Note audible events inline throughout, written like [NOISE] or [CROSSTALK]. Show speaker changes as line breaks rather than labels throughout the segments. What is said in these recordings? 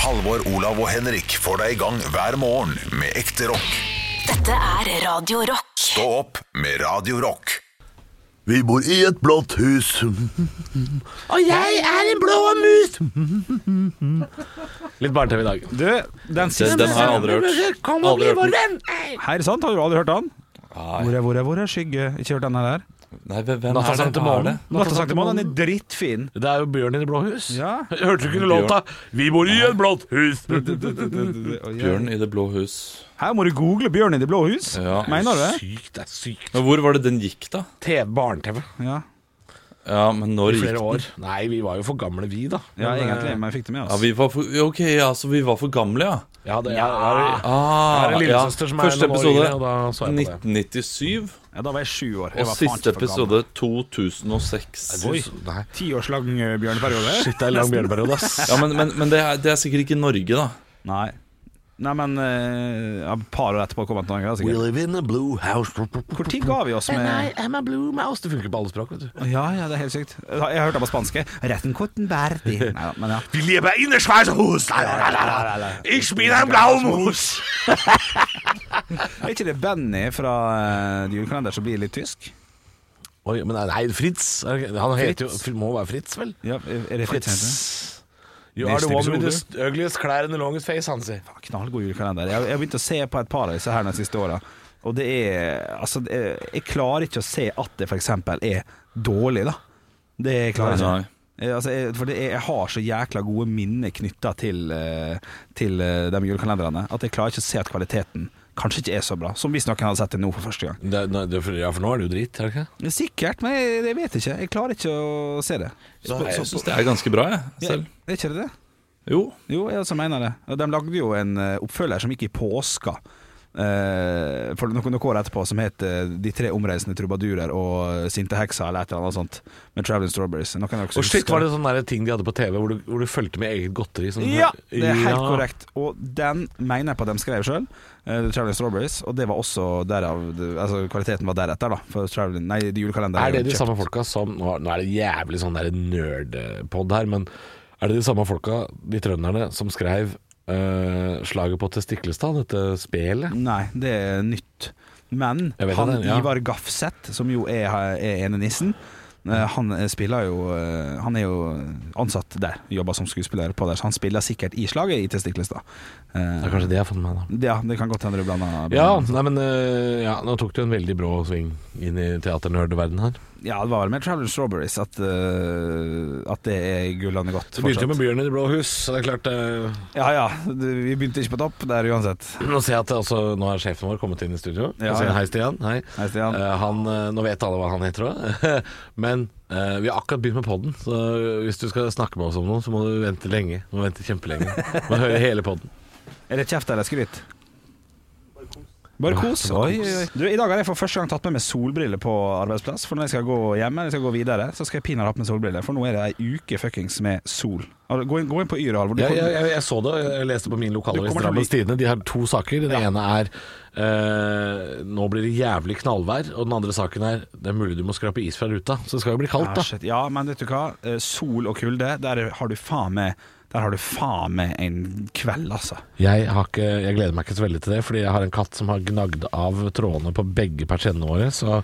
Halvor, Olav og Henrik får deg i gang hver morgen med ekte rock.
Dette er Radio Rock.
Stå opp med Radio Rock.
Vi bor i et blått hus. Og jeg er en blå mus.
Litt barne-TV i dag.
Du, den siste
Den, den har jeg aldri hørt.
Kom
Aldri hørt den.
venn. Hei.
Her, sant? Har du aldri hørt den? Hvor
Nei,
er, hvor er, hvor er skygge? Ikke hørt den der?
Nei hvem hvem
Natta
er det?
sang til
Hva er
månen.
det?
Nattasankemann, den er drittfin.
Det er jo Bjørn i Det blå hus.
Ja.
Hørte du ikke låta 'Vi bor i et blått hus'?
Bjørn i Det blå hus.
Her må du google 'Bjørn i det blå hus'.
Ja.
Mener du det?
Sykt, det er sykt.
Men hvor var det den gikk, da?
TV, Barne-TV.
Ja,
Ja, men når
I
gikk
flere
den?
år. Nei, vi var jo for gamle, vi, da.
ja
Men,
egentlig.
eh,
Men jeg fikk det med altså.
Ja,
oss.
vi var for, ok, ja, så vi var for gamle, ja.
Ja, det er, er,
Ah,
er en lillesøster som er
Første
noen år yngre,
episode
og da så jeg på det.
1997,
Ja, da var jeg sju år. Jeg
og
var faen
siste
ikke for gammel.
episode 2006.
Oi.
Nei.
Tiårslang eh, bjørneperiode?
Shit, det er en lang bjørneperiode, [LAUGHS] ass.
Ja, men, men, men det, er, det er sikkert ikke Norge, da.
Nei. Nei, men eh, ja, et par år etterpå kom han til Norge. da,
We
sikkert.
live in a blue house.
Hvor tid ga vi oss
Nei,
med
I'm a blue mouse. Det funker på alle språk, vet du.
Ja, ja, det er helt sykt. Jeg har hørt det på spanske. Retten korten
[LAUGHS]
verdi. Nei da, men ja.
Vi lever i en svart hus! Ich bin ein Blaumus!
[LAUGHS] Er ikke det Benny fra eh, Julekalender som blir litt tysk?
Oi, men nei, nei, Fritz. er det ikke- Han heter
Fritz.
jo Må være Fritz, vel?
Ja, er det Fritz?
Fritz. You are the one with the ugliest klær and the longest face, han sier.
Ah, Knallgod julekalender. Jeg jeg har begynt å se på et par av disse her de siste åra. Og det er Altså, det er, jeg klarer ikke å se at det f.eks. er dårlig, da. Det klarer jeg ikke.
Nei.
Eh, Altså, jeg, for det er, jeg har så jækla gode minner knytta til, eh, til eh, de julekalenderne at jeg klarer ikke å se at kvaliteten kanskje ikke er så bra. Som hvis noen hadde sett det nå for første gang.
Det, nei, det, er for- ja, for nå er det jo dritt, er det ikke?
Sikkert, men jeg, jeg vet ikke. Jeg klarer ikke å se det.
Så jeg syns det er ganske bra, jeg.
Ja,
Selv.
er ikke det det?
Jo.
Jo, jeg også mener det. Og De lagde jo en eh, oppfølger som gikk i påska. eh, for noen, noen år etterpå, som het eh, De tre omreisende trubadurer og eh, Sinte heksa, eller et eller annet sånt, med Traveling Strawberries. Noen av dere
Og shit,
husker
var det sånn- sånne der ting de hadde på TV hvor du, hvor du fulgte med eget godteri? Sånn,
Ja, det er helt
Ja.
korrekt. Og den mener jeg på at de skrev sjøl, Traveling Strawberries. Og det var også derav Altså, kvaliteten var deretter, da. For Traveling Nei, de julekalenderen
Er det
jo
de
kjøpt.
samme folka som Nå nå er det jævlig sånn der nerdpod her, men er det de samme folka, de trønderne, som skrev eh, slaget på Testiklestad, dette spelet?
Nei, det er nytt. Men
Jeg vet
han
det, ja.
Ivar Gafseth, som jo er, er enenissen, eh, han spiller jo eh, Han er jo ansatt der, jobber som skuespiller på der, så han spiller sikkert i slaget i Testiklestad.
Det er
Eh,
kanskje det jeg har fått med meg, da.
Ja, det kan godt hende du blander
Ja, nei, men eh, ja, nå tok du en veldig brå sving inn i teaternerdverdenen her.
ja, det var vel med Travel Strawberries at, eh, at det er gullende godt.
Det begynte jo
fortsatt.
med Bjørn i Det blå hus, så det er klart eh,
Ja ja, du- vi begynte ikke på topp der uansett.
Nå ser jeg at det også, nå er sjefen vår kommet inn i studio.
Ja,
Jeg sier
ja.
Hei, Stian. Hei.
Hei, Stian.
Eh, han, eh, nå vet alle hva han heter òg. [LAUGHS] Men eh, vi har akkurat begynt med podden så hvis du skal snakke med oss om noe, så må du vente lenge. Du må vente kjempelenge. Du må høre hele podden
Er det kjeft eller skryt? Bare kos. Oi, oi, oi. Du, I dag har jeg for første gang tatt med meg solbriller på arbeidsplass. For når jeg skal gå hjem eller jeg skal gå videre, så skal jeg pinadø ha på meg solbriller. For nå er det ei uke fuckings med sol. Har du- Gå inn, gå inn på Yr, Halvor. Du
Jeg,
kommer-
jeg, jeg, jeg så det, og jeg leste på min
Du
lokalavis
kommer til å
Drammens
bli-
Tidende. De har to saker. Den ene er eh, nå blir det jævlig knallvær. Og den andre saken er det er mulig du må skrape is fra ruta. Så det skal jo bli kaldt,
Ja,
da.
Ah, shit. ja, men vet du hva? Eh, Sol og kulde, der har du faen meg Der har du faen meg en kveld, altså.
Jeg, har ikke, jeg gleder meg ikke så veldig til det, fordi jeg har en katt som har gnagd av trådene på begge persiennene våre, så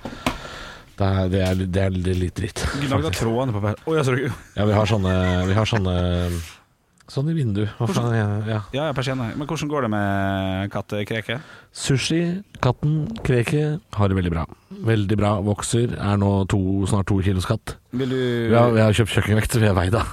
det er, det er, det er litt dritt.
Gnagd av trådene på per- Å, ja, så du-
Ja, vi har sånne, vi har sånne Sånn i vindu. Hva faen er det? Ja.
Ja, ja, persienne. Men hvordan går det med kattekreket?
Sushi, katten, kreket har det veldig bra. Veldig bra, vokser. Er nå to, snart to kilos katt.
Vil
Vi har,
du
vi har kjøpt kjøkkenvekt, så vi har veid da.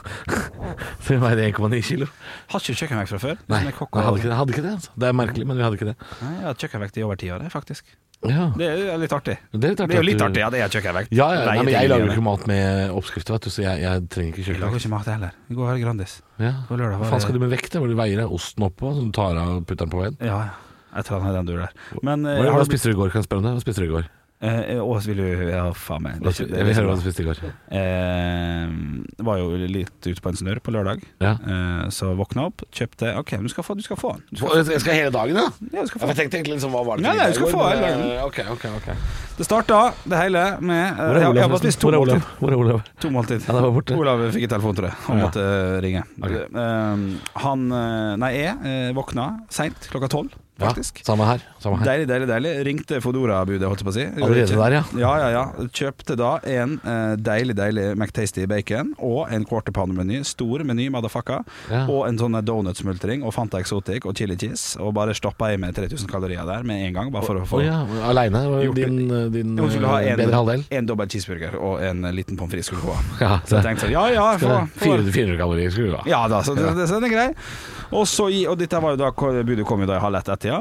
Så [LAUGHS] vi veide 1,9 kilo.
Har ikke du kjøkkenvekt fra før?
Nei,
Sånn
vi
er kokk
hadde
og-
ikke det. Hadde ikke det altså. Det er merkelig, men vi hadde ikke det.
Nei, jeg har hatt kjøkkenvekt i over ti år, jeg, faktisk.
Ja.
Det er jo litt artig.
Det er, litt
Det er jo litt
at du-
artig, ja. Det er kjøkkenvekt.
Ja, ja,
Leie
nei, men jeg
ting
lager
i
jo
det.
ikke mat med oppskrifter, vet du, så jeg, jeg trenger ikke
Jeg lager
kjøkkenvakt.
ikke mat heller. Vi går og har Grandis.
Ja.
På lørdag
Hva
var
faen
det-
skal du med vekt? da? Hvor du veier deg osten oppå, så du tar av og putter den på veien?
Ja, ja. Jeg tror han er den du er der. Men eh,
Hva,
har
hva
du blitt-
spiste du i går? Kan jeg spørre om det? Hva spiste du i går?
Eh, og så vil du Ja, faen meg. Det, er ikke- det, er
Vi hører
liksom-
hva du spiste i går.
Eh, var jo litt ute på en snørr på lørdag.
Ja.
Eh, så våkna opp, kjøpte OK, du skal få, du skal få den. Du skal,
Jeg skal hele dagen, ja?
ja, du
Ja,
skal få
for Jeg
den.
tenkte egentlig liksom, hva var det
Nei,
til
nei,
middag
du skal
i
få
går,
hele
men,
dagen.
eh, Ok, ok, ok
Det starta det hele med eh, jeg- Jeg har bare spist to måltid.
Hvor er Olav?
To måltid.
Han er bare borte.
Olav fikk en telefon, tror jeg. Han
Ja.
måtte eh, ringe. Eh, han eh, Nei, jeg eh, våkna seint, klokka tolv,
Ja,
faktisk.
samme her. Samme her.
Deilig, deilig, deilig. Ringte Fodora-budet, holdt jeg på å si.
Allerede
Kjøp-
der, ja.
Ja, ja, ja. Kjøpte da en eh, deilig, deilig McTasty bacon og en quarter pounder-meny. Stor meny, motherfucker.
Ja.
Og en sånn donutsmultring og Fanta Exotic og chili cheese. Og bare stoppa i med 3000 kalorier der med en gang, bare for å få
Å ja, Aleine?
Gjort det.
Din, eh, din
Hun skulle ha
eh,
en,
bedre halvdel?
en dobbel cheeseburger og en liten pommes frites skulle hun ha.
Ja,
Så jeg tenkte sånn, ja ja, få, få
400, 400 kalorier skulle du ha.
Ja da, så det, det, så den er grei. Og, så, i- og dette var jo da budet kom jo da i halv ett ett-tida.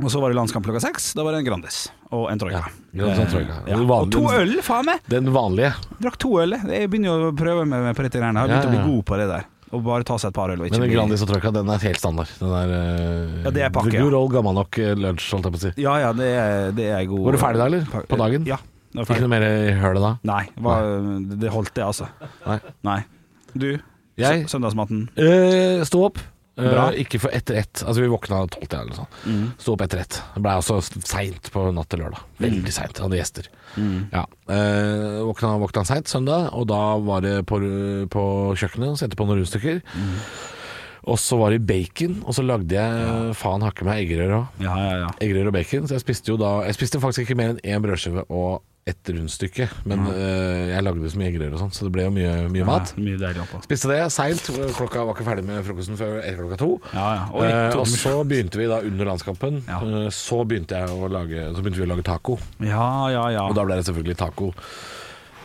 Og så var det landskamp klokka seks. Da var det en Grandis og en Troika.
Ja, sånn Grandis og en Troika.
Eh, Ja.
Det
Og
vanlige-
to øl, faen meg!
Den vanlige.
Drakk to øl. Jeg begynner jo å prøve meg med på dette greiene. Jeg har
Ja,
begynt å
ja.
bli god på det der. Å bare ta seg et par øl og ikke
Men
bli-
Grandis og Troika, den er helt standard. Den er eh,
Ja, det er pakke,
the Good
ja.
old gammel nok eh, lunsj, holdt jeg på å si.
Ja ja, det er, det er god
Var du ferdig da, eller? På dagen?
Ja. det var
Ikke
ferdig.
noe mer i hølet da?
Nei, var, det holdt, det, altså.
Nei.
Nei. Du?
Jeg-
sø- Søndagsmaten?
Eh, stå opp. Eh,
Bra. Mm.
ikke for etter ett. Altså, vi våkna tolv til eller noe sånt. Stå opp etter ett. Det blei også seint på natt til lørdag. Veldig seint. Hadde gjester.
Mm.
Ja. Eh, våkna våkna seint søndag, og da var det på, ru- på kjøkkenet og sendte på noen rundstykker.
Mm.
Og så var det bacon, og så lagde jeg faen hakke meg eggerøre òg.
Ja ja ja.
Eggerøre og bacon. Så jeg spiste jo da Jeg spiste faktisk ikke mer enn én brødskive og ett rundstykke, men eh, jeg lagde så mye eggerøre og sånn, så det ble jo mye, mye mat.
Ja, mye deilig oppå.
Spiste det seint, klokka var ikke ferdig med frokosten før etter klokka to.
Ja, ja. Oi,
Eh,
to
og
timer.
så begynte vi da under landskampen.
Ja.
Eh, så, begynte jeg å lage, så begynte vi å lage taco,
Ja ja ja.
og da ble det selvfølgelig taco.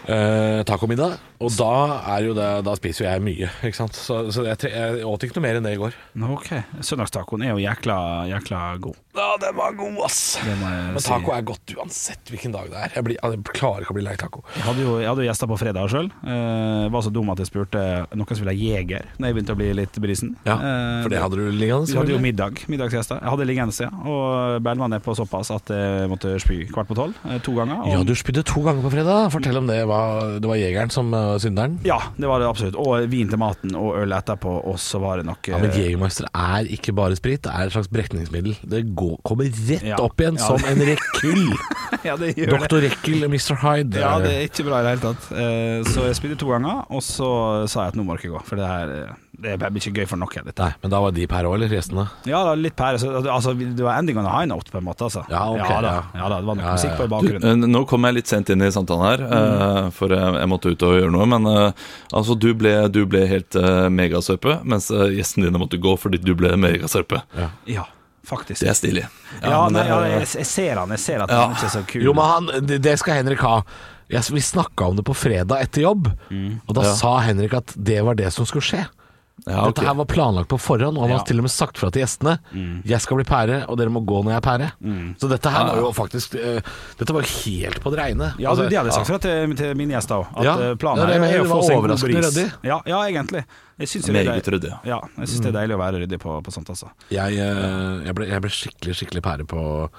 Eh, tacomiddag. Og da, er jo det, da spiser jo jeg mye, ikke sant. Så, så jeg, tre- jeg åt ikke noe mer enn det i går.
Ok, Søndagstacoen er jo jækla, jækla god.
Ja, den var god, ass!
Det må jeg
Men
si.
taco er godt uansett hvilken dag det er. Jeg, blir, jeg klarer ikke å bli lei taco.
Jeg hadde jo, jeg hadde jo gjester på fredag sjøl. Eh, var så dum at jeg spurte noen som ville ha jeger Når jeg begynte å bli litt brisen. Eh,
For det hadde du liggende?
vi hadde jo
selvfølgelig.
middag, middagsgjester. Jeg hadde liggende, ja. Og Bellman er på såpass at jeg måtte spy kvart på tolv. eh, To ganger. og-
Ja, du spydde to ganger på fredag. Fortell om det. Hva- Det var jegeren som eh, synderen?
Ja, det var det absolutt. Og vin til maten og øl etterpå, og så var det nok
Ja, men
eh,
Jegermeister er ikke bare sprit, det er et slags brekningsmiddel. Det går, kommer rett
Ja.
opp igjen
Ja,
som
det-
en rekyll.
[LAUGHS] ja, det [LAUGHS] gjør det.
Doktor Rekkel og Mr. Hyde.
Ja, det er ikke bra i det hele tatt. Eh, Så jeg spydde to ganger, og så sa jeg at nå må dere gå, for det, her, eh, det blir ikke gøy for noen. Dette.
Nei, men da var de per år, eller gjestene?
Ja da, litt pære. Så, altså, det var ending on a high note, på en måte. Altså.
Ja, ok,
da,
ja.
ja da, det var nok
Ja, ja,
musikk på i
Du,
bakgrunnen.
eh, nå kom jeg litt sent inn i samtalen her, eh,
Mm.
for jeg, jeg måtte ut og gjøre noe. Men eh, altså, du ble, du ble helt eh, megasørpe, mens eh, gjestene dine måtte gå fordi du ble megasørpe.
Ja, faktisk.
Det er stilig.
ja,
men
nei,
det-
ja, jeg, jeg ser han, jeg ser at han
Ja.
ikke er så kul.
Jo, men han, det- det skal Henrik ha. Jeg, vi snakka om det på fredag etter jobb,
Mm.
og da
Ja.
sa Henrik at det var det som skulle skje.
ja, ok.
Dette her var planlagt på forhånd, og han
Ja. Mm.
har til og med sagt fra til gjestene. Jeg skal bli pære, og dere må gå når jeg er pære. Så dette her var jo faktisk eh, Dette var jo helt på det reine.
ja, du,
Altså,
de hadde sagt fra til, til mine gjester òg, at
Ja.
eh, planen
Ja, det-
her er
det
å
var
få seg en god
overraskende
bris.
ryddig.
Ja, ja, egentlig. Jeg syns det, er
Meget
deil-
ryddig.
ja, jeg synes
Mm.
det er deilig å være ryddig på, på sånt, altså.
Jeg, eh, jeg, ble, jeg ble skikkelig, skikkelig pære på,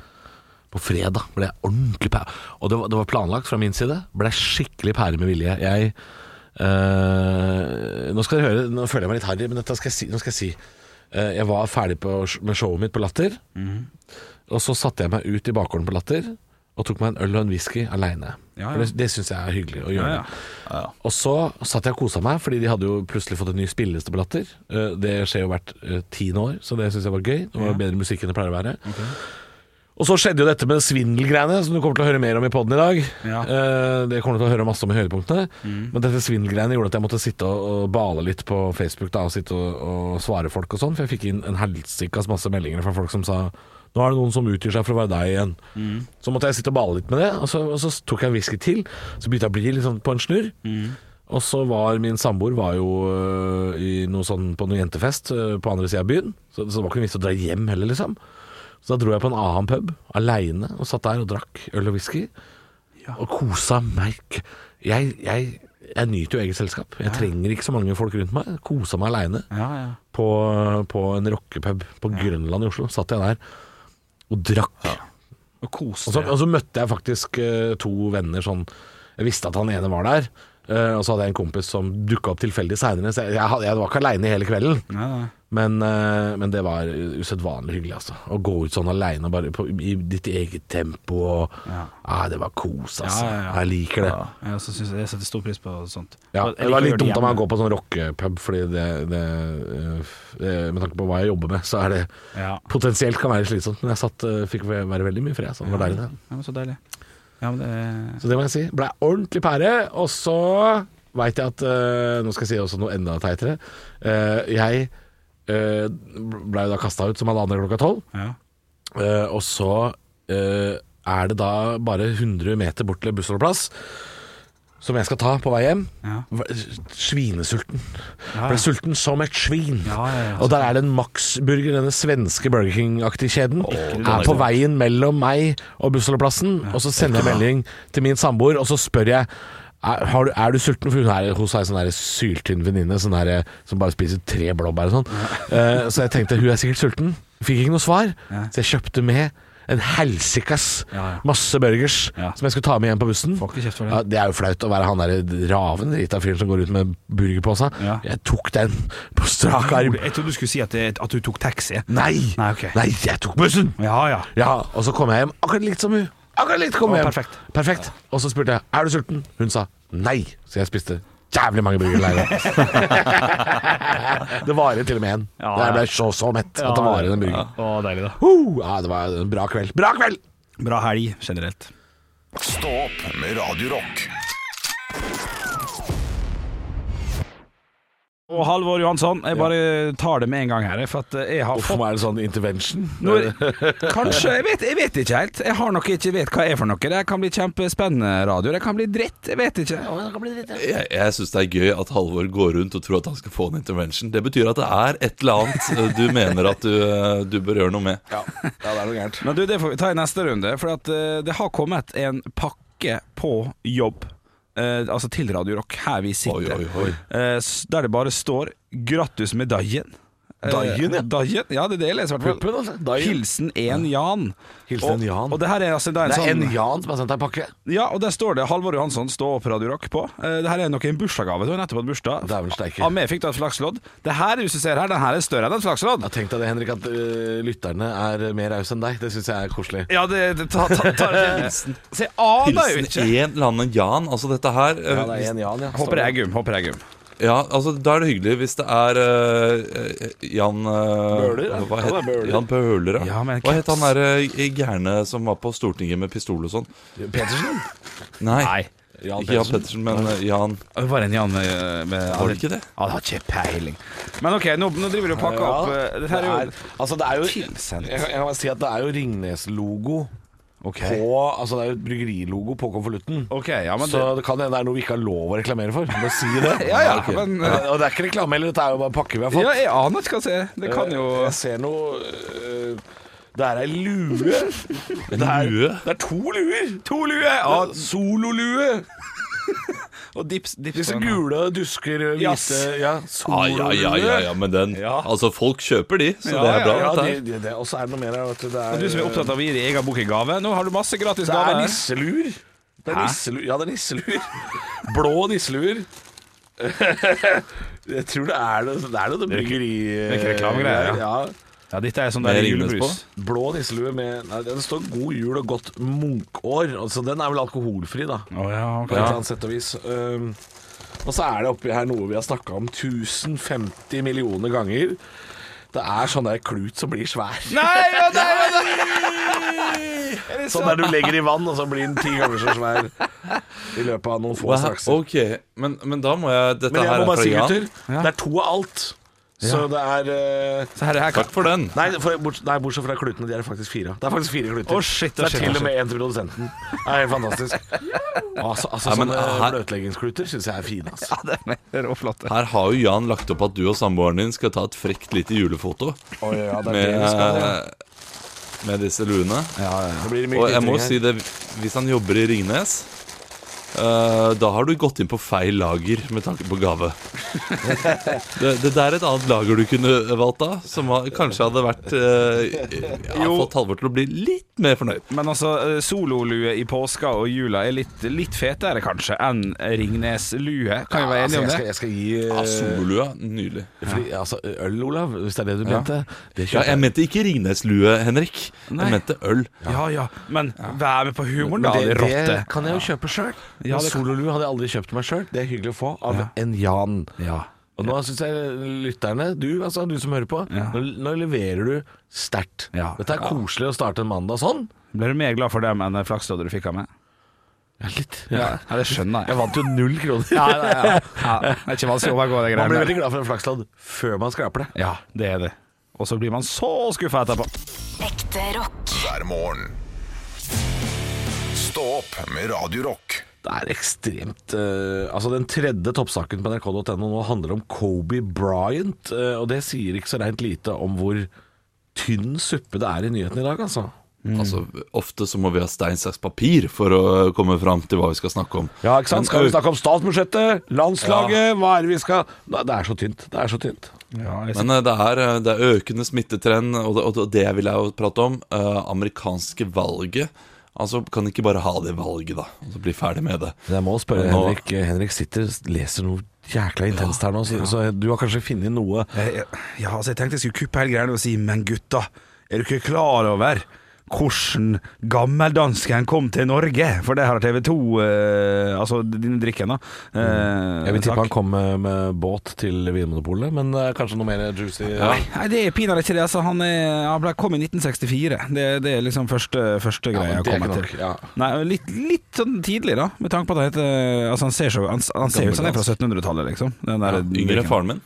på fredag. Ble jeg ordentlig pære. Og det var, det var planlagt fra min side. Ble jeg skikkelig pære med vilje. Jeg eh, Nå skal dere høre, nå føler jeg meg litt harry, men dette skal jeg si. Nå skal jeg si. Eh, jeg var ferdig på, med showet mitt på Latter.
Mhm.
Og så satte jeg meg ut i bakgården på Latter og tok meg en øl og en whisky aleine.
Ja, ja.
For Det, det syns jeg er hyggelig å gjøre.
Ja, ja.
Og så satt jeg og kosa meg, fordi de hadde jo plutselig fått en ny spilleliste på Latter. Eh, Det skjer jo hvert eh, tiende år, så det syns jeg var gøy. Det var bedre musikk enn det pleier å være. Og så skjedde jo dette med svindelgreiene, som du kommer til å høre mer om i poden i dag.
Ja.
Eh, Det kommer du til å høre masse om i høydepunktene. Men dette svindelgreiene gjorde at jeg måtte sitte og, og bale litt på Facebook da, og sitte og, og svare folk og sånn, for jeg fikk inn en helsikas masse meldinger fra folk som sa nå er det noen som utgir seg for å være deg igjen. Så måtte jeg sitte og bale litt med det, og så, og så tok jeg en whisky til. Så begynte jeg å bli litt sånn på en snurr. Og så var min samboer var jo øh, i noe sånn, på noe jentefest øh, på andre sida av byen, så, så det var ikke noe vits å dra hjem heller, liksom. Så da dro jeg på en annen pub aleine og satt der og drakk øl og whisky. Og kosa meg. k- Jeg, jeg, jeg nyter jo eget selskap. Jeg trenger ikke så mange folk rundt meg. Kosa meg aleine
Ja, ja.
på, på en rockepub på Grønland i Oslo. Satt jeg der og drakk.
Og kos
Og så,
deg.
og så møtte jeg faktisk eh, to venner sånn Jeg visste at han ene var der. eh, og så hadde jeg en kompis som dukka opp tilfeldig seinere. Jeg, jeg, hadde- jeg var ikke aleine hele kvelden,
Nei, nei.
men, eh, men det var usedvanlig hyggelig. Altså. Å gå ut sånn aleine i ditt eget tempo. Og, ja. det var kos, altså.
Ja, ja, ja.
Jeg liker det.
Jeg også synes jeg setter stor pris på sånt.
Ja,
Og jeg
det var
liker å
litt
gjøre
dumt av meg å
hjemme.
gå på sånn rockepub, fordi det, det, eh, f- eh, Med tanke på hva jeg jobber med, så er det
Ja.
potensielt kan være slitsomt. Men jeg satt, eh, fikk være veldig mye fred, så det var deilig, det.
Ja, men så deilig. Ja, men det
Så det må jeg si. Blei ordentlig pære. Og så veit jeg at eh, Nå skal jeg si også noe enda teitere. Eh, jeg uh, blei da kasta ut som alle andre klokka tolv.
ja.
Eh, og så eh, er det da bare 100 meter bort til bussholdeplass, som jeg skal ta på vei hjem.
Ja.
V- Svinesulten.
Ja,
Ble sulten som et svin.
Ja, ja, altså. ja.
Og der er det en Max-burger, denne svenske Burger King-aktige kjeden, er på veien mellom meg og bussholdeplassen. Og så sender jeg melding til min samboer, og så spør jeg er, har du, er du sulten? For hun er hos ei sånn der syltynn venninne sånn der, som bare spiser tre blåbær og sånn. [LAUGHS] Eh, så jeg tenkte hun er sikkert sulten. Fikk ikke noe svar,
Ja.
så jeg kjøpte med en helsikas
Ja, ja.
masse burgers
Ja.
som jeg skulle ta med hjem på bussen.
Får ikke kjeft for det.
Ja, det er jo flaut å være han der raven drita fyren som går ut med burger på seg.
Ja.
Jeg tok den på strak arm.
Ah, Jeg trodde du skulle si at, det, at du tok taxi.
Nei!
Nei, ok.
Nei, jeg tok bussen!
Ja, ja.
Ja, og så kom jeg hjem akkurat likt som hun. Akkurat likt kom
Å,
jeg hjem.
perfekt.
perfekt. Og så spurte jeg er du sulten. Hun sa nei, så jeg spiste jævlig mange burgere.
[LAUGHS]
i leiren. det varer til og med en.
Ja,
jeg ble
ja.
så så mett at det varer en burger.
Å, deilig, da.
Uh, ja, det var en bra kveld. Bra kveld!
Bra helg generelt.
Stå opp med Radio Rock.
Og Halvor Johansson, jeg bare tar det med en gang her, for at jeg har
Hvorfor
fått
er det sånn intervention?
noe, Kanskje, jeg vet, jeg vet ikke helt. Jeg har nok ikke vet hva jeg er for noe. Det kan bli kjempespennende radio. Det kan bli dritt, jeg vet ikke.
Jeg, jeg syns det er gøy at Halvor går rundt og tror at han skal få en intervention. Det betyr at det er et eller annet eh, du mener at du, eh, du bør gjøre noe med.
Ja, det er noe gærent.
Men du, det får vi ta i neste runde, for at, eh, det har kommet en pakke på jobb. eh, altså til Radio Rock, her vi
Oi,
sitter.
oi, oi.
Eh, s- der det bare står 'Grattus med dagen'. Eh,
Dagen, ja.
dagen? Ja, det er det jeg leser i hvert fall.
Puppen, altså. Da-
Hilsen en Jan.
Hilsen en
Og-
Jan.
Og det her er altså det er en
Det er en
sånn,
Jan som har sendt deg en pakke.
Ja, og der står det Halvor Johansson, stå opp Radio Rock på. Eh, det her er nok en bursdagsgave. Du har nettopp hatt bursdag.
Dæven steike.
Av meg fikk du et flakslodd. Det her huset ser her, den her er større enn et flakslodd.
Jeg tenkte det, Henrik, at øh, lytterne er mer rause enn deg. Det syns jeg er koselig.
Ja, det, det ta, ta,
[LAUGHS]
ta, Så jeg aner jo
Hilsen
ikke.
en eller annen Jan. Altså dette her eh,
Ja, det er en Jan, ja.
Håper det er gum. Håper det er gum.
Ja, altså Da er det hyggelig hvis det er eh, eh, Jan eh,
Bøhler, ja.
Hva
Han er
het,
Bøhler.
Jan Bøhler,
Ja, men
hva het
caps.
han der eh, gærne som var på Stortinget med pistol og sånn?
Petersen?
Nei,
Nei.
ikke Jan Pettersen, men eh, Jan
Det var en Jan med, med
Var det ikke det?
Ja, det har ikke peiling. Men OK, nå, nå driver du og pakker opp. eh, Dette her er jo
altså, det er jo
Tilsendt.
Jeg, kan- jeg kan bare si at det er jo Ringnes-logo
OK.
på Altså det er jo et bryggerilogo på konvolutten.
Ok, ja, men
Så det kan hende det er noe vi ikke har lov å reklamere for. Bare si det.
[LAUGHS] Ja, ja,
Ok.
men-
Ja, Og det er ikke reklame heller, dette er jo bare pakker vi har
det,
fått. Eh,
ja, jeg aner ikke hva jeg ser. Det kan jo
Jeg ser noe øh, Det er ei lue. Det er,
Lue?
det er to luer.
To luer! Ja,
Ja, sololue.
[LAUGHS] og dips, dips
Disse
på den.
gule dusker,
Jass.
hvite ja,
Ah, ja, ja, ja, ja, men den
Ja.
Altså, folk kjøper de, så
Ja,
det er bra.
Ja,
dette
det,
her.
det, det. Og så er det noe mer her. vet Du, det
Og
er,
Du som er opptatt av å gi deg egen bok i gave. Nå har du masse gratis
Det er
gaver.
nisselur. Det er
Hæ?
nisselur. [LAUGHS] Ja, det er nisseluer. Blå nisseluer. [LAUGHS] Jeg tror det er det Det er det, det bryggeri...
det er ikke reklamegreier,
eh, ja.
Ja, dette er sånn
Med
der
Ringnes
julebrus.
Blå nisselue med Nei, den står 'God jul og godt munkår'. Så den er vel alkoholfri, da.
Å ja, ok.
På et eller annet sett og vis. Um, og så er det oppi her noe vi har snakka om 1050 millioner ganger. Det er sånn der klut som blir svær.
Nei, ja, nei, ja, nei. Er det
Sånn der du legger i vann, og så blir den ti ganger så svær i løpet av noen få
Wow,
straks.
ok, men, men da må jeg Dette
Men jeg
her
må
er
bare
fra
si,
Jan.
gutter, det er to av alt. Så det er eh,
Så her, her kan
Takk for den.
nei, for, borts- nei, bortsett fra klutene. De er det faktisk fire av. Det er faktisk fire kluter.
Å, shit, å,
det er
shit, å,
til
shit.
og med en til produsenten. Det er helt
[LAUGHS]
fantastisk. Altså, altså
Ja, men
Sånne
her-
bløtleggingskluter syns jeg er fine. Altså.
Ja, den er råflott.
Her har jo Jan lagt opp at du og samboeren din skal ta et frekt lite julefoto
Oi, ja, det, er
med,
det, vi skal, ja.
med disse luene.
Ja, ja. det blir mye
Og jeg må
glitring her.
si det, hvis han jobber i Ringnes eh, da har du gått inn på feil lager med tanke på
[LAUGHS]
gave. Det, det der er et annet lager du kunne valgt da, som har- kanskje hadde vært eh, ja,
Jo.
Fått Halvor til å bli litt mer fornøyd.
Men altså, eh, sololue i påska og jula er litt, litt fetere, kanskje, enn Ringnes-lue. Kan vi være
Altså,
enige om
jeg, skal,
det?
jeg skal gi
Ja,
eh,
Sololua, nydelig.
fordi, altså, Øl, Olav, hvis det er det du mente. Det
Ja,
kjøper
jeg mente ikke Ringneslue, Henrik.
Nei.
Jeg mente øl.
Ja ja, men vær med på humoren, da,
Men
det,
det, det
rotte.
kan jeg jo kjøpe sjøl.
Ja, det kan-
Sololue hadde jeg aldri kjøpt meg sjøl. Det er hyggelig å få av en Jan.
Ja.
Og nå syns jeg lytterne, du, altså, du som hører på,
Ja.
nå, nå leverer du sterkt.
Ja.
Dette er koselig å starte en mandag sånn.
Ble du mer glad for dem enn det flaksloddet du fikk av meg?
Ja, litt.
Ja, det skjønner
Jeg
jeg.
vant jo null kroner.
Ja, ja, ja. [LAUGHS] ja, det er ikke vanskelig å overgå de
Man blir
greiene
veldig
der.
glad for en flakslodd før man skraper det.
Ja, det er det. Og så blir man så skuffa etterpå.
Ekte rock.
hver morgen. Stå opp med Radio Rock.
Det er ekstremt eh, Altså, den tredje toppsaken på nrk.no nå handler om Kobe Bryant, eh, og det sier ikke så rent lite om hvor tynn suppe det er i nyhetene i dag, altså.
Altså, Ofte så må vi ha stein, saks, papir for å komme fram til hva vi skal snakke om.
Ja, ikke sant?
Men
Skal vi
ø-
snakke om statsbudsjettet, landslaget, hva er det vi skal Nei, Det er så tynt. Det er så tynt.
Ja, jeg
Men eh, det er, eh, det er økende smittetrend, og det, og det vil jeg jo prate om. eh, amerikanske valget. Altså, Kan de ikke bare ha det valget, da? Og så bli ferdig med det.
Men jeg må spørre
Nå-
Henrik. Henrik sitter leser noe jækla intenst her nå, så, så du har kanskje funnet noe eh,
Jeg- jeg- Ja, altså jeg tenkte jeg skulle kuppe hele greiene og si Men gutta, er du ikke klar over hvordan gammeldansken kom til Norge? For det har TV 2 eh, Altså denne drikken, da. Eh,
Jeg vil tippe
sak.
han kom med, med båt til Vinmonopolet, men eh, kanskje noe mer juicy. eh, Ja.
Nei, det er pinadø ikke det. Altså, han er, han ble, kom i 1964. Det, det er liksom første, første greia
men
jeg
det er
kommer
ikke
til.
nok, ja.
Nei, litt, litt sånn tidlig, da. Med tanke på at han heter Altså, han ser så- han, han ser ut som han er fra 1700-tallet, liksom. Den der
Yngre
drikken.
enn faren min.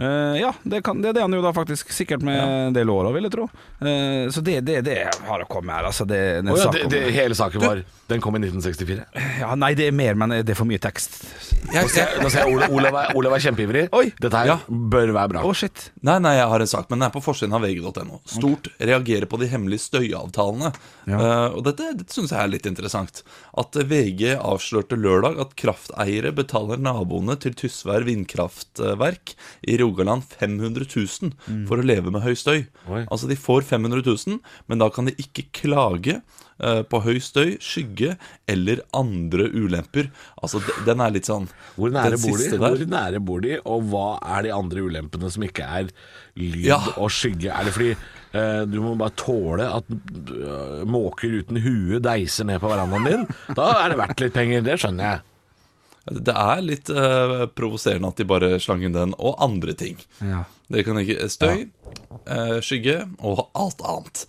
Eh, ja, det, kan, det er det han jo da faktisk sikkert med en del år òg, vil jeg tro. Eh, så det, det, det har å komme her, altså. Det, det, er
Å ja,
sak
det,
om-
det, hele saken var Den kom i 1964.
ja, nei, det er mer, men det er for mye tekst.
Jeg, jeg,
Nå ser jeg Olav, Olav, er, Olav er kjempeivrig.
Oi.
Dette her
Ja.
bør være bra.
Å, shit.
nei, nei, jeg har en sak, men den er på forsiden av vg.no. Stort reagerer på de hemmelige støyavtalene. Eh, og dette, dette syns jeg er litt interessant. At VG avslørte lørdag at krafteiere betaler naboene til Tysvær vindkraftverk i Rogaland 500 000 for å leve med høy støy.
Mm. Oi.
Altså de får 500 000, men da kan de ikke klage eh, på høy støy, skygge eller andre ulemper. Altså de- den er litt sånn
Hvor nære,
den
bor de?
siste der.
Hvor nære bor de, og hva er de andre ulempene som ikke er lyd
Ja.
og skygge? Er det fordi eh, du må bare tåle at eh, måker uten hue deiser ned på verandaen din? Da er det verdt litt penger, det skjønner jeg.
Det er litt eh, provoserende at de bare slang inn den, og andre ting.
Ja.
Dere kan ikke Støy, eh, skygge og alt annet.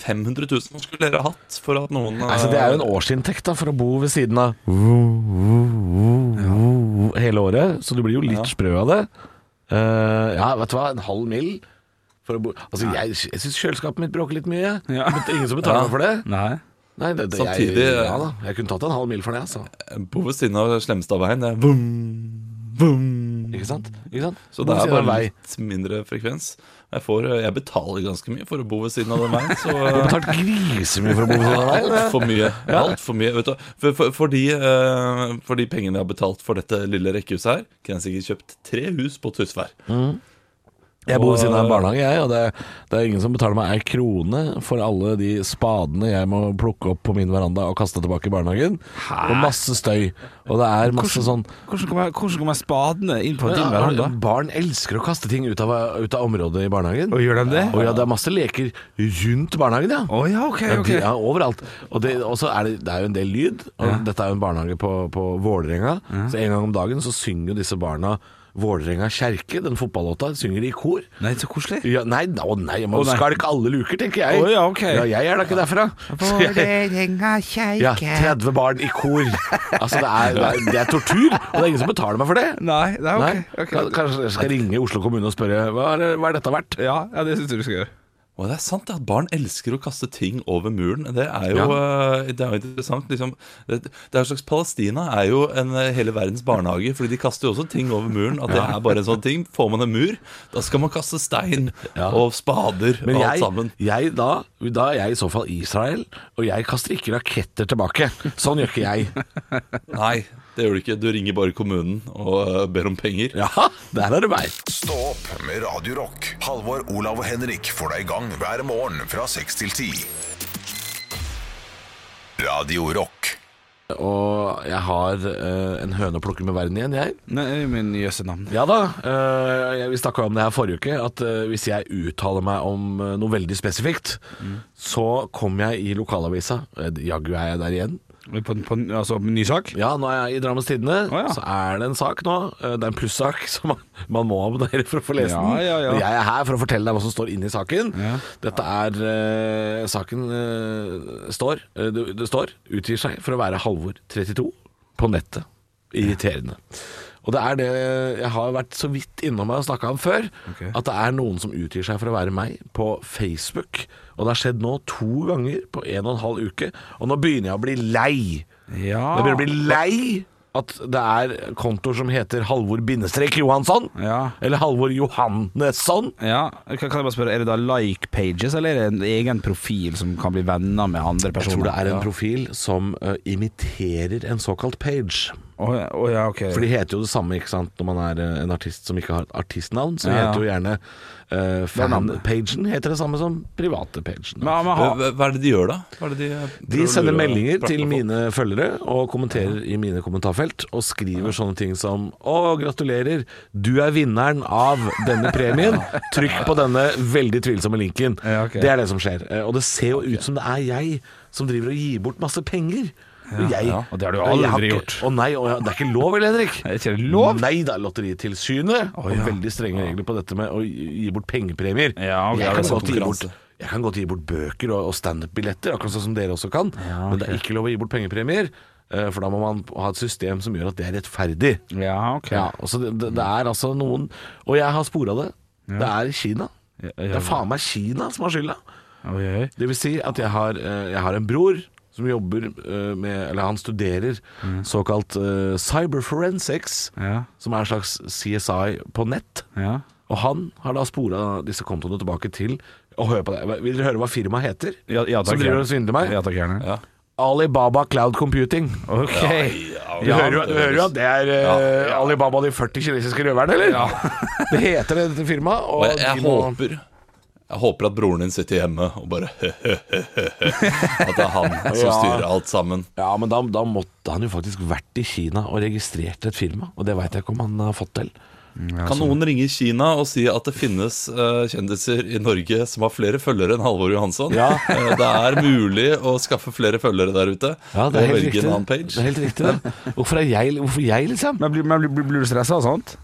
500 000 skulle dere hatt for at noen eh,
Altså, det er jo en årsinntekt da, for å bo ved siden av hele året, så du blir jo litt sprø av det. Eh, ja, vet du hva, en halv mil for å bo Altså, jeg, jeg syns kjøleskapet mitt bråker litt mye.
Ja.
Men det er ingen som betaler
Ja.
for det.
Nei.
Nei, det, det, jeg,
Samtidig-
ja, da. jeg kunne tatt en halv mil for det, altså.
Bo eh, ved siden av Slemstadveien. Det er vum, vum.
Ikke sant? Ikke sant?
Så det
Hvor
er
sier den
bare
vei?
litt mindre frekvens. Jeg, får, eh, jeg betaler ganske mye for å bo ved siden av den veien, så
Du
eh,
[LAUGHS] har betalt grisemye for å bo ved siden av veien.
Alt for mye. Alt for mye vet du. For, for, for, de, eh, for de pengene jeg har betalt for dette lille rekkehuset her, kan jeg sikkert kjøpt tre hus på Tysvær.
Jeg bor ved siden av en barnehage, jeg, og det, det er ingen som betaler meg ei krone for alle de spadene jeg må plukke opp på min veranda og kaste tilbake i barnehagen. Og masse støy. Og det er masse sånn
Hvordan kommer, hvordan kommer spadene inn på din
Ja,
veranda?
Barn elsker å kaste ting ut av, ut av området i barnehagen.
Og gjør de det?
Og ja, det er masse leker rundt barnehagen, ja.
Å ja, ok,
Ja,
ok.
de er overalt. Og det, og så er det, det er jo en del lyd. Og Dette er jo en barnehage på, på Vålerenga. Så en gang om dagen så synger jo disse barna Vålerenga kjerke, den fotballåta, synger de i kor.
Nei, så koselig.
Ja, nei, å nei, man
Å nei.
skalk alle luker, tenker jeg.
Å ja, ok.
jeg er da ikke derfra. Så
[LAUGHS]
jeg, ja, 30 barn i kor. Altså, det er, det, er, det er tortur, og det er ingen som betaler meg for det.
Nei, nei, ok.
Nei?
ok.
Kan- Kanskje jeg skal ringe Oslo kommune og spørre hva er, hva er dette verdt?
Ja, ja, det syns jeg du skal gjøre.
Og det er sant det at barn elsker å kaste ting over muren. Det er jo, eh, det er jo interessant. Liksom, det, det er jo slags Palestina er jo en, eh, hele verdens barnehage, Fordi de kaster jo også ting over muren. At det er bare en sånn ting. Får man en mur, da skal man kaste stein og spader
Men
og alt
jeg,
sammen.
jeg da, da er jeg i så fall Israel, og jeg kaster ikke raketter tilbake. Sånn gjør ikke
[LAUGHS]
jeg.
Nei, det gjør du ikke. Du ringer bare kommunen og eh, ber om penger.
Ja, der er det meg.
Stå opp med Radio Rock. Halvor, Olav og Henrik får deg i gang hver morgen fra 6 til 10. Radio Rock.
Og jeg har eh, en høne å plukke med verden igjen, jeg.
Nei, min jøsse navn.
Ja da, eh, jeg- vi snakka om det her forrige uke, at eh, hvis jeg uttaler meg om eh, noe veldig spesifikt,
Mm.
så kommer jeg i lokalavisa. Eh, Jaggu er jeg der igjen.
På, på, altså, ny sak?
Ja, nå er jeg i Drammens Tidende,
Å, ja.
så er det en sak nå. eh, Det er en plussak [LAUGHS] som man, man må abonnere for å få lese
Ja,
den.
ja, ja.
Og Jeg er her for å fortelle deg hva som står inni saken.
Ja.
Dette er eh, Saken eh, står eh, det, det står utgir seg for å være Halvor 32 på nettet. Irriterende. Og det er det jeg har vært så vidt innom meg og snakka om før.
Ok.
At det er noen som utgir seg for å være meg på Facebook. Og det har skjedd nå to ganger på en og en halv uke. Og nå begynner jeg å bli lei.
Ja.
Jeg begynner å bli lei at det er kontoer som heter Halvor Bindestrek Johansson.
Ja.
Eller Halvor Johannesson.
Ja, kan kan jeg bare spørre, Er det da like pages, eller er det en egen profil som kan bli venner med andre
Jeg
personer?
tror det er en
Ja.
profil som ø, imiterer en såkalt page.
Å ja, å ja, ok.
For de heter jo det samme ikke sant, når man er ø, en artist som ikke har et artistnavn. Så de
Ja, ja.
heter jo gjerne ø, Fanpagen heter det samme som private-pagen.
men, men, ha,
Hva hva er det de gjør, da? Hva er det de, eh, prøver
De
å
sender
lure-
meldinger
prate
til
med folk?
mine følgere og kommenterer i mine kommentarfelt og skriver sånne ting som Å, gratulerer, du er vinneren av denne
[LAUGHS]
premien. Trykk på denne veldig tvilsomme linken.
Ja, ok.
Det er det som skjer. Eh, Og det ser jo ut som det er jeg som driver og gir bort masse penger. Og jeg-
ja. Og det har du
jeg
aldri
ikke-
gjort.
Å nei, å, ja, det er ikke lov, eller, Henrik?
Er det ikke lov?
Nei da, Lotteritilsynet har
ja.
veldig strenge regler på dette med å gi gi bort pengepremier.
Ja, ok.
jeg,
Det
kan
er
godt gi bort,
konkurranse.
jeg kan godt gi bort bøker og, og standup-billetter, akkurat sånn som dere også kan, men det er ikke lov å gi bort pengepremier. eh, For da må man ha et system som gjør at det er rettferdig.
ja, ok.
Ja, og så det, det, det er altså noen Og jeg har spora det. Det er Kina.
Ja, ja.
Det er faen meg Kina som har skylda.
Oi, oi.
Det vil si at jeg har, eh, jeg har en bror som jobber eh, med Eller han studerer såkalt eh, cyberforensics,
Mm. Ja.
som er en slags CSI på nett.
Ja.
Og han har da spora disse kontoene tilbake til Og hør på det. Vil dere høre hva firmaet heter?
Ja, ja, takk,
som driver
gjerne.
og svindler meg?
Ja takk, gjerne.
Ja.
Alibaba Cloud Computing.
Ok.
Du, hører, jo, du hører jo at det er eh, Alibaba og de 40 kinesiske røverne, eller? [LAUGHS] det heter det firmaet. Og,
Og jeg, jeg
de må-
håper Jeg håper at broren din sitter hjemme og bare [LAUGHS] At det er han
[LAUGHS]
som
Ja.
styrer alt sammen.
Ja, men da, da måtte han jo faktisk vært i Kina og registrert et firma, og det veit jeg ikke om han har fått til.
Kan noen ringe Kina og si at det finnes eh, kjendiser i Norge som har flere følgere enn Halvor Johansson?
Ja.
[LAUGHS] Eh, det er mulig å skaffe flere følgere der ute. og velge en
riktig.
annen page.
Det er helt riktig det. Hvorfor er jeg, hvorfor jeg liksom?
Men blir, men blir, blir du stressa og sånt?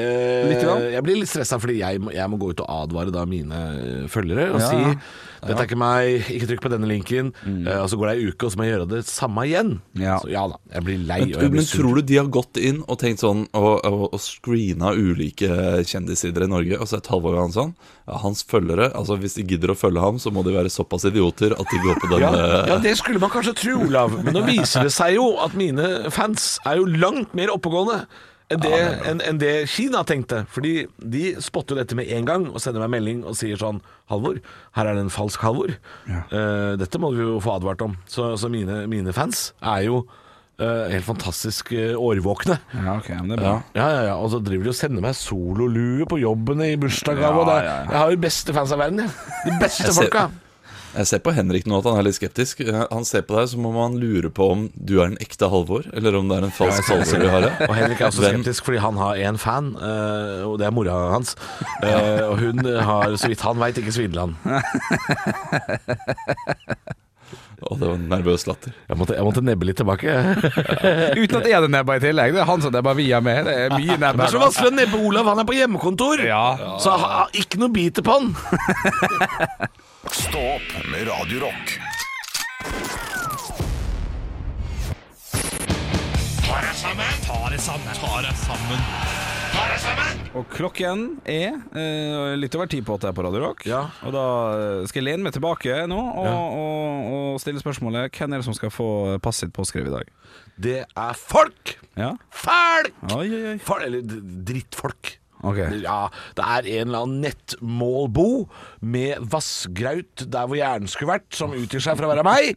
Eh,
Litt grann.
jeg blir litt stressa fordi jeg, må- jeg må gå ut og advare da mine eh, følgere og
Ja, ja. Mm.
si dette er ikke meg, ikke trykk på denne linken. Eh, og så går det ei uke, og så må jeg gjøre det samme igjen.
Ja.
Så ja da, jeg blir lei og jeg
Men,
blir
men
sur.
tror du de har gått inn og tenkt sånn og, og, og screena ulike kjendissider i Norge og sett Halvor Johansson? Ja, hans følgere altså Hvis de gidder å følge ham, så må de være såpass idioter at de går
[LAUGHS]
på
ja,
denne
ja, det skulle man kanskje tro, Olav. Men nå viser det seg jo at mine fans er jo langt mer oppegående enn det, enn- enn det Kina tenkte. Fordi de spotter jo dette med en gang og sender meg melding og sier sånn Halvor, her er det en falsk Halvor. Eh, dette må vi jo få advart om. Så, så mine, mine fans er jo eh, helt fantastisk eh, årvåkne.
Ja, ok, men det er bra.
Ja, ja, ja, Og så driver de og sender meg sololue på jobben i bursdagsgave. og
Ja,
det-
ja, ja.
Jeg har jo de beste fans av verden, jeg. De beste
Jeg ser-
folka.
Jeg ser på Henrik nå at han er litt skeptisk. Eh, Han ser på deg som om han lurer på om du er en ekte Halvor, eller om det er en falsk Halvor vi har
Og
her.
Henrik er også
Hvem-
skeptisk fordi han har én fan, eh, og det er mora hans. Eh, og hun har, så vidt han veit, ikke svindla han.
Å, det var en nervøs latter.
Jeg måtte, jeg måtte nebbe litt tilbake. Det
Uten at jeg er nebba i tillegg. Det er han som nebba via meg. Det [LAUGHS] er mye nebba.
er så vanskelig å nebbe Olav, han er på hjemmekontor!
Ja.
Så ha, ikke noe biter på han.
Stå opp med Radio Rock.
Ta deg sammen. Ta deg sammen. Ta deg sammen. Ta
Og klokken er eh, litt over ti på åtte her på Radio Rock.
Ja.
Og da eh, skal jeg lene meg tilbake nå og, og, og, stille spørsmålet hvem er det som skal få passet sitt påskrevet i dag?
Det er folk!
Ja?
Folk!
Oi, oi, oi.
Fol- eller d- drittfolk.
Ok.
Ja, det er en eller annen nettmålbo med vassgraut der hvor hjernen skulle vært, som utgir seg for å være meg.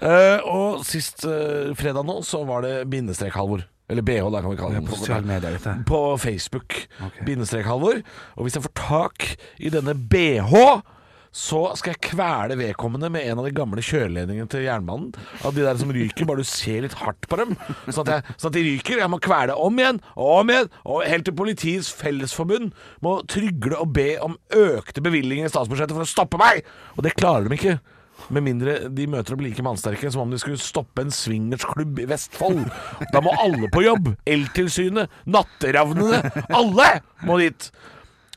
Eh, og sist eh, fredag nå så var det bindestrek-Halvor. Eller BH, da kan vi kalle
På
det.
sosiale medier, vet jeg.
På Facebook.
Ok.
Bindestrek-Halvor. Og hvis jeg får tak i denne BH så skal jeg kvele vedkommende med en av de gamle kjøreledningene til jernbanen. Av de der som ryker, bare du ser litt hardt på dem. Sånn at, jeg, sånn at de ryker. Jeg må kvele om igjen og om igjen. Og helt til Politiets Fellesforbund må trygle og be om økte bevilgninger i statsbudsjettet for å stoppe meg! Og det klarer de ikke. Med mindre de møter opp like mannsterke som om de skulle stoppe en swingersklubb i Vestfold. Da må alle på jobb. Eltilsynet, Natteravnene. Alle må dit!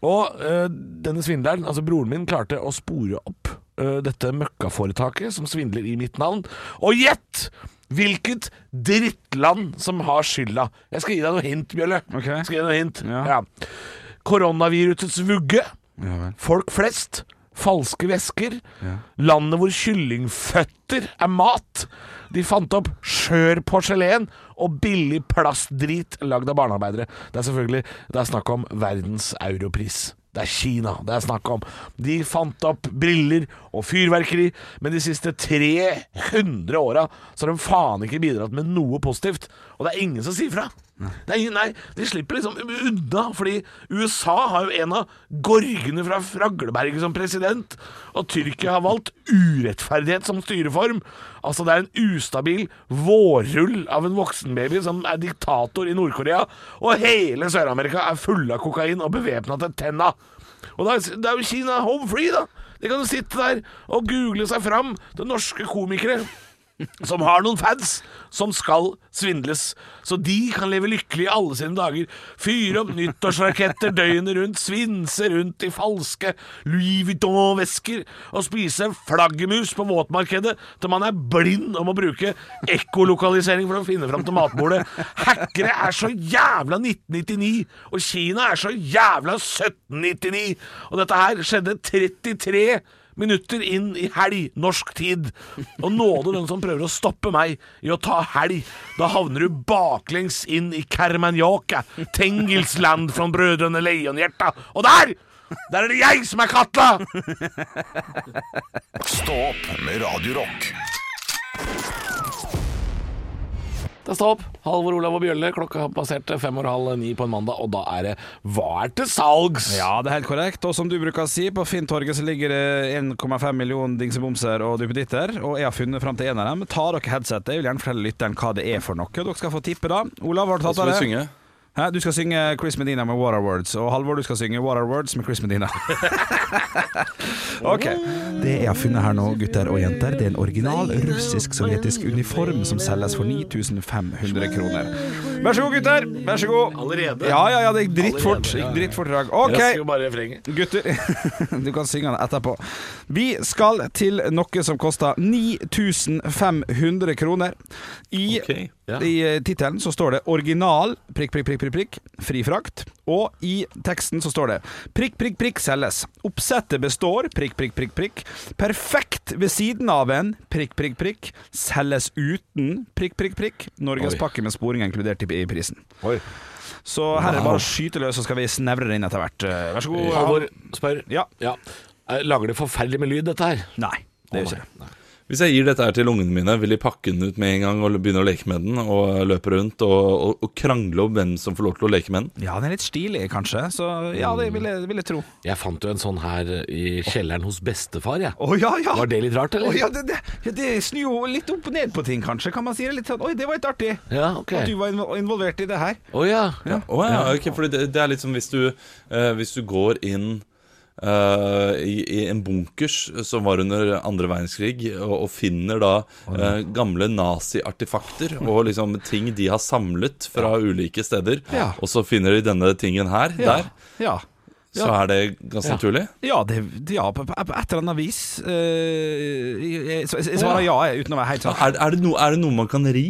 Og eh, denne svindleren, altså broren min, klarte å spore opp eh, dette møkkaforetaket som svindler i mitt navn. Og gjett hvilket drittland som har skylda! Jeg skal gi deg noe hint, Bjølle.
Ok.
Jeg Skal gi deg noe hint.
Ja.
Ja. Koronavirusets vugge.
Ja vel.
Folk flest. Falske væsker. Landet hvor kyllingføtter er mat. De fant opp skjør porselen og billig plastdrit lagd av barnearbeidere. Det er selvfølgelig det er snakk om verdens europris. Det er Kina det er snakk om. De fant opp briller og fyrverkeri, men de siste 300 åra så har de faen ikke bidratt med noe positivt. Og det er ingen som sier fra. Det er ingen, nei, de slipper liksom unna, fordi USA har jo en av gorgene fra Fragleberget som president, og Tyrkia har valgt urettferdighet som styreform. Altså, det er en ustabil vårrull av en voksenbaby som er diktator i Nord-Korea, og hele Sør-Amerika er fulle av kokain og bevæpna til tenna. Og da, er- det er jo Kina home free, da. De kan jo sitte der og google seg fram til norske komikere som har noen fans som skal svindles, så de kan leve lykkelig i alle sine dager. Fyre opp nyttårsraketter døgnet rundt, svinse rundt i falske Louis Vuitton-vesker og spise flaggermus på våtmarkedet til man er blind om å bruke ekkolokalisering for å finne fram til matbordet. Hackere er så jævla 1999, og Kina er så jævla 1799, og dette her skjedde 33 minutter inn i helg, norsk tid. Og nåde den som prøver å stoppe meg i å ta helg. Da havner du baklengs inn i Kermanjaka, Tengilsland fra Brødrene Leonhjerta. Og der! Der er det jeg som er katta!
Stå opp med Radio Rock.
Det er stå opp. Halvor Olav og Bjølle. Klokka passerte fem og halv ni på en mandag, og da er det Hva er til salgs?
Ja, det er helt korrekt. Og som du bruker å si, på Finntorget så ligger det 1,5 millioner dingsebomser og duppeditter, og jeg har funnet fram til en av dem. Ta dere headsetet, jeg vil gjerne fortelle lytteren hva det er for noe. Dere skal få tippe, da. Olav, har du
Da
tatt
skal
av
vi
det?
synge.
Hæ? Du skal synge Chris Medina med Water Words, og Halvor, du skal synge Water Words med Chris Medina. [LAUGHS] ok. Det jeg har funnet her nå, gutter og jenter, det er en original russisk-sovjetisk uniform som selges for 9500 kroner. Vær så god, gutter. Vær så god.
Allerede?
Ja, ja, ja, det gikk drittfort. Det gikk drittfort i dag. OK.
Jeg skal jo bare refrenget.
Gutter, [LAUGHS] du kan synge den etterpå. Vi skal til noe som koster 9500 kroner. I,
Ok.
Ja.
i eh, tittelen så står det 'original' prikk, prikk, prikk, prikk, prikk, fri frakt. Og i teksten så står det 'prikk, prikk, prikk selges'. Oppsettet består prikk, prikk, prikk, prikk. Perfekt ved siden av en prikk, prikk, prikk. Selges uten prikk, prikk, prikk. Norgespakke med sporing inkludert i i prisen.
Oi.
Så her er det bare å skyte løs, så skal vi snevre det inn etter hvert. Eh, Vær så god.
Halvor spør.
Ja.
ja. Eh, Lager det forferdelig med lyd, dette her?
Nei, det gjør ikke det.
Hvis jeg gir dette her til ungene mine, vil de pakke den ut med en gang og begynne å leke med den og løpe rundt og, og, og krangle om hvem som får lov til å leke med den?
Ja, den er litt stilig, kanskje. Så ja, det vil jeg, vil jeg tro.
Jeg fant jo en sånn her i kjelleren hos bestefar, jeg.
Å ja, ja!
Var det litt rart, eller?
Å, ja, det, det, ja, det snur jo litt opp og ned på ting, kanskje. Kan man si det litt sånn Oi, det var litt artig!
Ja, ok.
At du var invo- involvert i det her.
Å ja.
Ja. Å ja, ok, fordi det, det er litt som hvis du, eh, hvis du går inn eh, i, i en bunkers som var under andre verdenskrig, og, og finner da eh, gamle naziartefakter og liksom ting de har samlet fra ulike steder,
Ja.
og så finner de denne tingen her, der,
Ja.
så er det ganske
Ja.
naturlig.
Ja, det, ja på, på, på et eller annet vis. Eh, jeg, jeg, jeg svarer ja, jeg, uten å være helt sånn.
Er, er, det no, er det noe man kan ri?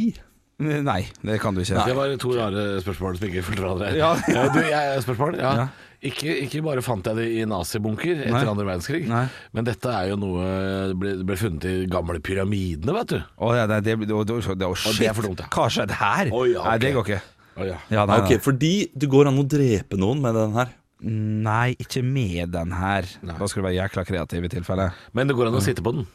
Nei, det kan du ikke.
Det var to rare spørsmål som ikke fulgte hverandre.
Ja.
[LAUGHS] Ja, du, jeg, spørsmål, ja.
Ja.
Ikke, ikke bare fant jeg det i nazibunker
Nei.
etter andre verdenskrig,
Nei.
men dette er jo noe Det ble, det ble funnet i gamle pyramidene, vet du.
Å, ja, nei, det, det, det, det, det, å, shit.
det er for dumt, ja.
Hva skjedde her?
Å, ja,
Nei, det går
ok.
ikke.
Å, ja.
Ja, nei,
Nei, ok, Fordi det går an å drepe noen med den her.
nei. nei, ikke med den her. Da skal du være jækla kreativ i tilfelle.
Men det går an å sitte på den.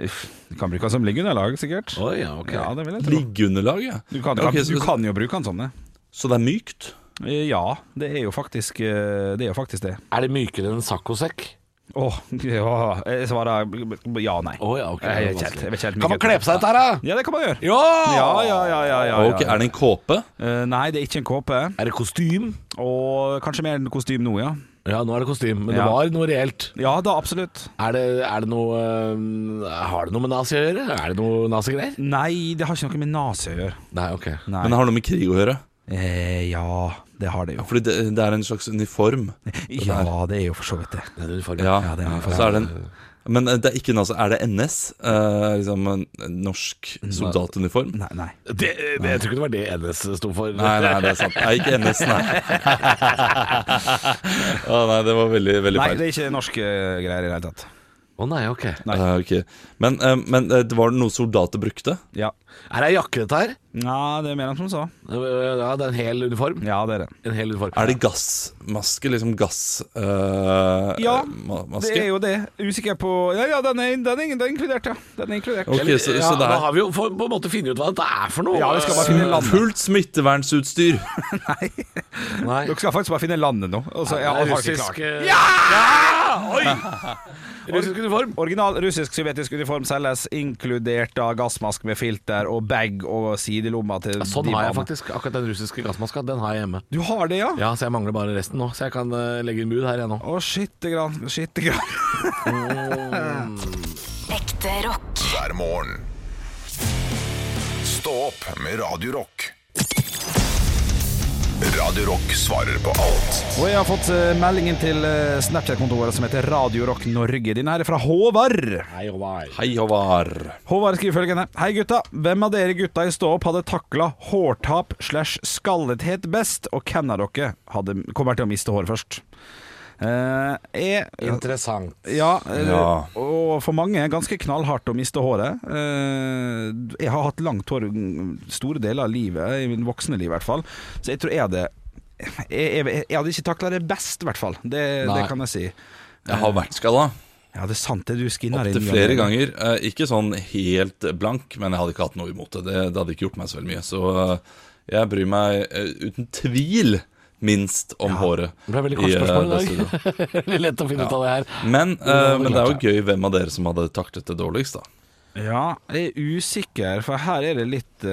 Uff, du kan bruke den som liggeunderlag, sikkert.
Å, ja, ok.
Ja, det vil jeg tro.
Liggeunderlag, ja.
Du kan,
Ja, ok,
kan, du
så,
kan jo bruke den som det.
så det er mykt?
Eh, Ja, det er jo faktisk eh, det. Er jo faktisk det.
Er det mykere enn en saccosekk?
Åh, [LAUGHS] ja, jeg svarer ja og nei.
Å, ja, ok.
Jeg vet ikke helt- jeg vet ikke helt
kan man
mye.
kle på seg dette her, da?
Ja, det kan man gjøre.
Ja!
Ja, ja, ja, ja, ja, ja.
Ok, Er det en kåpe?
Eh, nei, det er ikke en kåpe.
Er det kostym?
Og kanskje mer enn kostyme nå, ja.
Ja, nå er det kostym, men det
Ja.
var noe reelt.
Ja da, absolutt.
Er det, er det noe øhm, Har det noe med nazi å gjøre? Er det noe nazigreier?
Nei, det har ikke noe med nazi å gjøre.
Nei, ok.
Nei.
Men det har noe med krig å gjøre.
eh, ja, det har det jo.
Fordi det, det er en
[LAUGHS]
slags uniform.
Ja, det er jo for så vidt det.
Det er uniform.
Ja,
Ja, det er
og så er det en men eh, det er ikke nazi. Er det NS? Eh, liksom en norsk soldatuniform?
Nei, nei.
Det, eh, det, jeg tror ikke det var det NS sto for.
Nei, nei, det er sant. Nei, ikke NS,
[LAUGHS]
nei. Å nei, det var veldig, veldig
Nei,
feil.
det er ikke norske greier i det hele tatt.
Å nei, ok.
Eh, ok. Men, eh, men eh, det var det noe soldater brukte?
Ja.
Er det ei jakke dette her?
ja, det er mer enn som så.
Øh, Ja, det er en hel uniform.
Ja, det er det.
En hel uniform.
Er det gassmaske? Liksom gass... eh,
Ja,
ma- maske?
Det er jo det. Usikker på Ja, ja, den er, den er, den er inkludert, ja. Den er inkludert.
Ok, så,
ja,
så det
Da
er
har vi jo for, på en måte funnet ut hva dette er for noe.
Ja, vi skal bare finne landet.
fullt smittevernutstyr.
Nei.
Dere skal faktisk bare finne landet nå. Og så,
Det er
ja, har ikke klart.
russisk eh, Ja!
Ah!
Oi! Russisk uniform.
Original russisk-sovjetisk uniform selges, inkludert da gassmask med filter og bag og sidelomma til
Sånn
de
har jeg
mannene.
faktisk. Akkurat den russiske gassmaska, den har jeg hjemme.
Du har det, ja?
Ja, Så jeg mangler bare resten nå, så jeg kan eh, legge inn bud her jeg nå.
Å, skittegrann, grann, skitte grann.
Ekte rock.
hver morgen. Stå opp med Radio Rock. Radio Rock svarer på alt
Og jeg har fått eh, meldingen til eh, Snapchat-kontoret vårt som heter Radio Rock Norge. Din her er fra Håvard.
Hei, og hei.
Hei, Håvard.
Håvard skriver følgende. Hei gutta, hvem av dere gutta i Stå opp hadde takla hårtap slash skallethet best, og hvem av dere hadde, kommer til å miste håret først? Eh, jeg
Interessant.
Ja, eh,
Ja.
og for mange er ganske knallhardt å miste håret. Eh, Jeg har hatt langt hår mm, store deler av livet, i min voksne liv i hvert fall, så jeg tror jeg hadde jeg, jeg, jeg hadde ikke takla det best, i hvert fall. Det, det
Nei.
kan jeg si.
Jeg har vært skalla
Ja, det er sant det. Du skinner
opptil
inn,
flere
Jonny.
ganger. Eh, Ikke sånn helt blank, men jeg hadde ikke hatt noe imot det. Det, det hadde ikke gjort meg så veldig mye. Så eh, jeg bryr meg eh, uten tvil minst om håret.
Det ble veldig
i,
kort
eh,
spørsmål
det
i [LAUGHS] dag.
studioet.
Veldig lett å finne ut av det her.
Men, eh, men det er
klart
jo gøy hvem av dere som hadde taklet det dårligst, da.
Ja, jeg er usikker, for her er det litt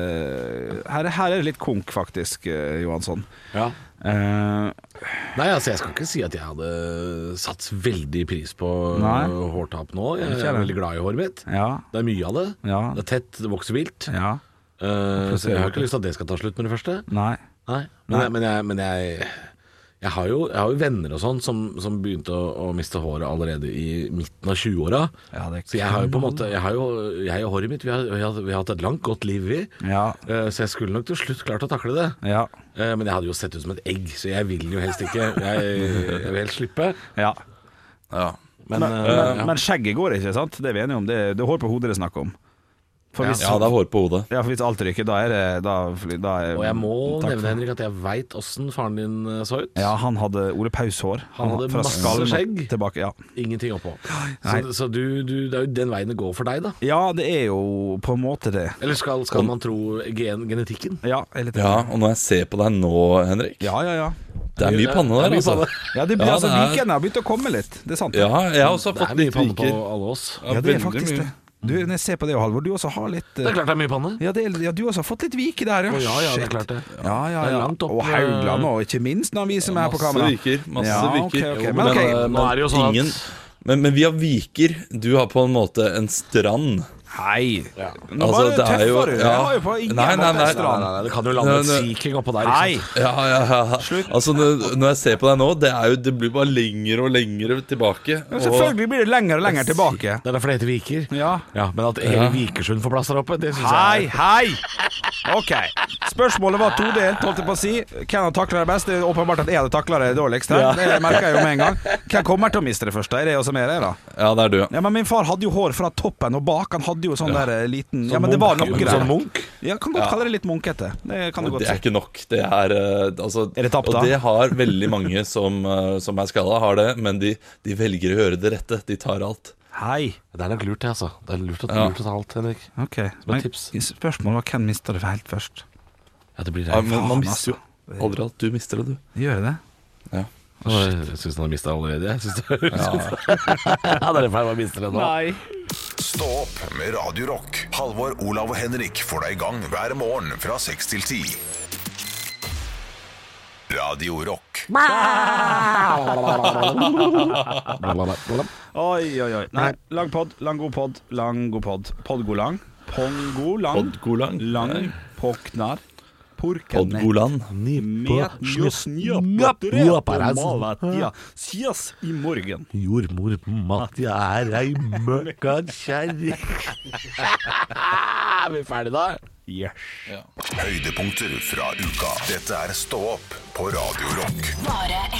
eh, her, her er det litt konk, faktisk, eh, Johansson.
Ja.
Eh,
Nei, altså Jeg skal ikke si at jeg hadde satt veldig pris på
Nei.
øh, hårtap nå. Jeg
Ikke
er
jeg.
veldig glad i håret mitt.
ja,
Det er mye av det.
Ja.
Det er tett, det vokser vilt.
ja.
Eh, så jeg har ikke lyst til at det skal ta slutt med det første.
Nei.
Nei. Men, Jeg, men, jeg, men jeg, jeg, har jo, jeg har jo venner og sånn som, som begynte å, å miste håret allerede i midten av 20-åra.
Ja, det
Så jeg har jo på en måte Jeg, har jo, jeg og håret mitt, vi har, vi, har, vi har hatt et langt, godt liv, vi.
Ja.
Eh, så jeg skulle nok til slutt klart å takle det.
Ja.
Eh, men jeg hadde jo sett ut som et egg, så jeg vil jo helst ikke. Jeg, jeg vil helst slippe.
ja.
Ja.
Men,
Men,
eh,
men,
ja.
men skjegget går ikke, sant? Det er vi enige om. Det, det er hår på hodet det er snakk om. For hvis,
ja, det er hår på hodet.
ja, for hvis alt ryker, da er det da, fly- da er,
Og jeg må
Takk for-
nevne, Henrik, at jeg veit åssen faren din eh, så ut.
Ja, han hadde Ole Paus-hår.
Han hadde
fra
masse
skallen og
skjegg.
Tilbake, ja.
Ingenting oppå. Så, så du, du, det er jo den veien det går for deg, da.
ja, det er jo på en måte det.
Eller skal, skal man tro gen genetikken?
Ja, jeg er litt
Ja, og når jeg ser på deg nå, Henrik
ja, ja. ja.
Det er mye panne
Det er
der,
mye
altså.
panne.
Ja, det blir
Ja,
altså
det er-
Vikene har begynt å komme litt. Det er sant.
Ja, jeg har også
Det
fått
er mye
litt
panne på
viker.
alle oss.
Ja, det er
veldig
faktisk
mye.
det. Du, når jeg ser på det, Halvor, du også har litt eh,
Det er klart det er mye panne.
ja, det er, ja, du også har fått litt vike der, ja.
Å, ja, ja, det er
Shit.
klart det.
Ja, ja,
Det er
ja.
langt opp, eh,
Og Haugland nå, ikke minst når han viser meg her på
Masse
kamera.
viker. Masse
Ja, ok,
viker.
ok.
Jo,
Men ok,
eh,
nå er det jo sånn at-
ingen, men, men vi har viker. Du har på en måte en strand.
Hei! Nå
Altså,
var det,
det er jo-
tøffere.
ja.
Jeg var jo på ingen
Nei, nei,
måte
nei,
en strand.
nei, nei,
Det kan jo lande et
Nei, nei.
Sea King oppå der.
Hei!
Ikke sant?
Ja, ja, ja. Altså, når, når jeg ser på deg nå, det, er jo, det blir bare lengre og lengre tilbake.
Men
Og,
Selvfølgelig blir det lenger og lenger tilbake.
Det er derfor det heter Viker.
Ja.
Ja, Men at hele Vikersund får plass der oppe, det syns
Hei,
jeg er-
hei! Ok, Spørsmålet var todelt. holdt jeg på å si Hvem har takla det best? Det er åpenbart at jeg hadde takla det dårligst. her Det merker jeg jo med en gang. Hvem kommer til å miste det først? da? Er det også mer, da?
Ja, det er du, ja.
Ja, men Min far hadde jo hår fra toppen og bak. Han hadde jo sånn der eh, liten Ja, men
Sånn
det var
munk-
noe
sånn
greier.
munk?
Ja, Kan godt kalle det litt munkete. Det kan du
Det
godt
er
si.
ikke nok. Det er, eh, altså,
Er det tapt, da?
Og det har veldig mange som, eh, som er skalla, har det. Men de, de velger å gjøre det rette. De tar alt.
Hei.
Det er nok lurt, det, altså. Det er lurt at
Ja.
lurt å ta alt, Henrik.
Ok,
et
men
tips.
Spørsmålet var hvem mista det helt først.
Ja, det blir
Ja,
det.
men man
faen, altså.
mister jo aldri alt. Du mister det, du.
Gjør jeg det?
Jeg syns han har mista allerede. Jeg synes det, [LAUGHS] ja. det er derfor jeg mister det
[LAUGHS]
nå.
Stå opp med Radio Rock. Halvor, Olav og Henrik får deg i gang hver morgen fra 6 til 10. Radio Rock.
Oi, oi, oi. Nei. Lang pod, lang god pod, lang god pod. Podgolang. Pongolang.
Podgolang.
Lang poknar. Porkene.
Podgoland.
Med
snøpere og
Ja, sies i morgen.
Jordmor Matja er ei møkka kjerring. Er vi ferdige da?
Høydepunkter fra uka. Dette er Stå opp på Radio Rock.
Bare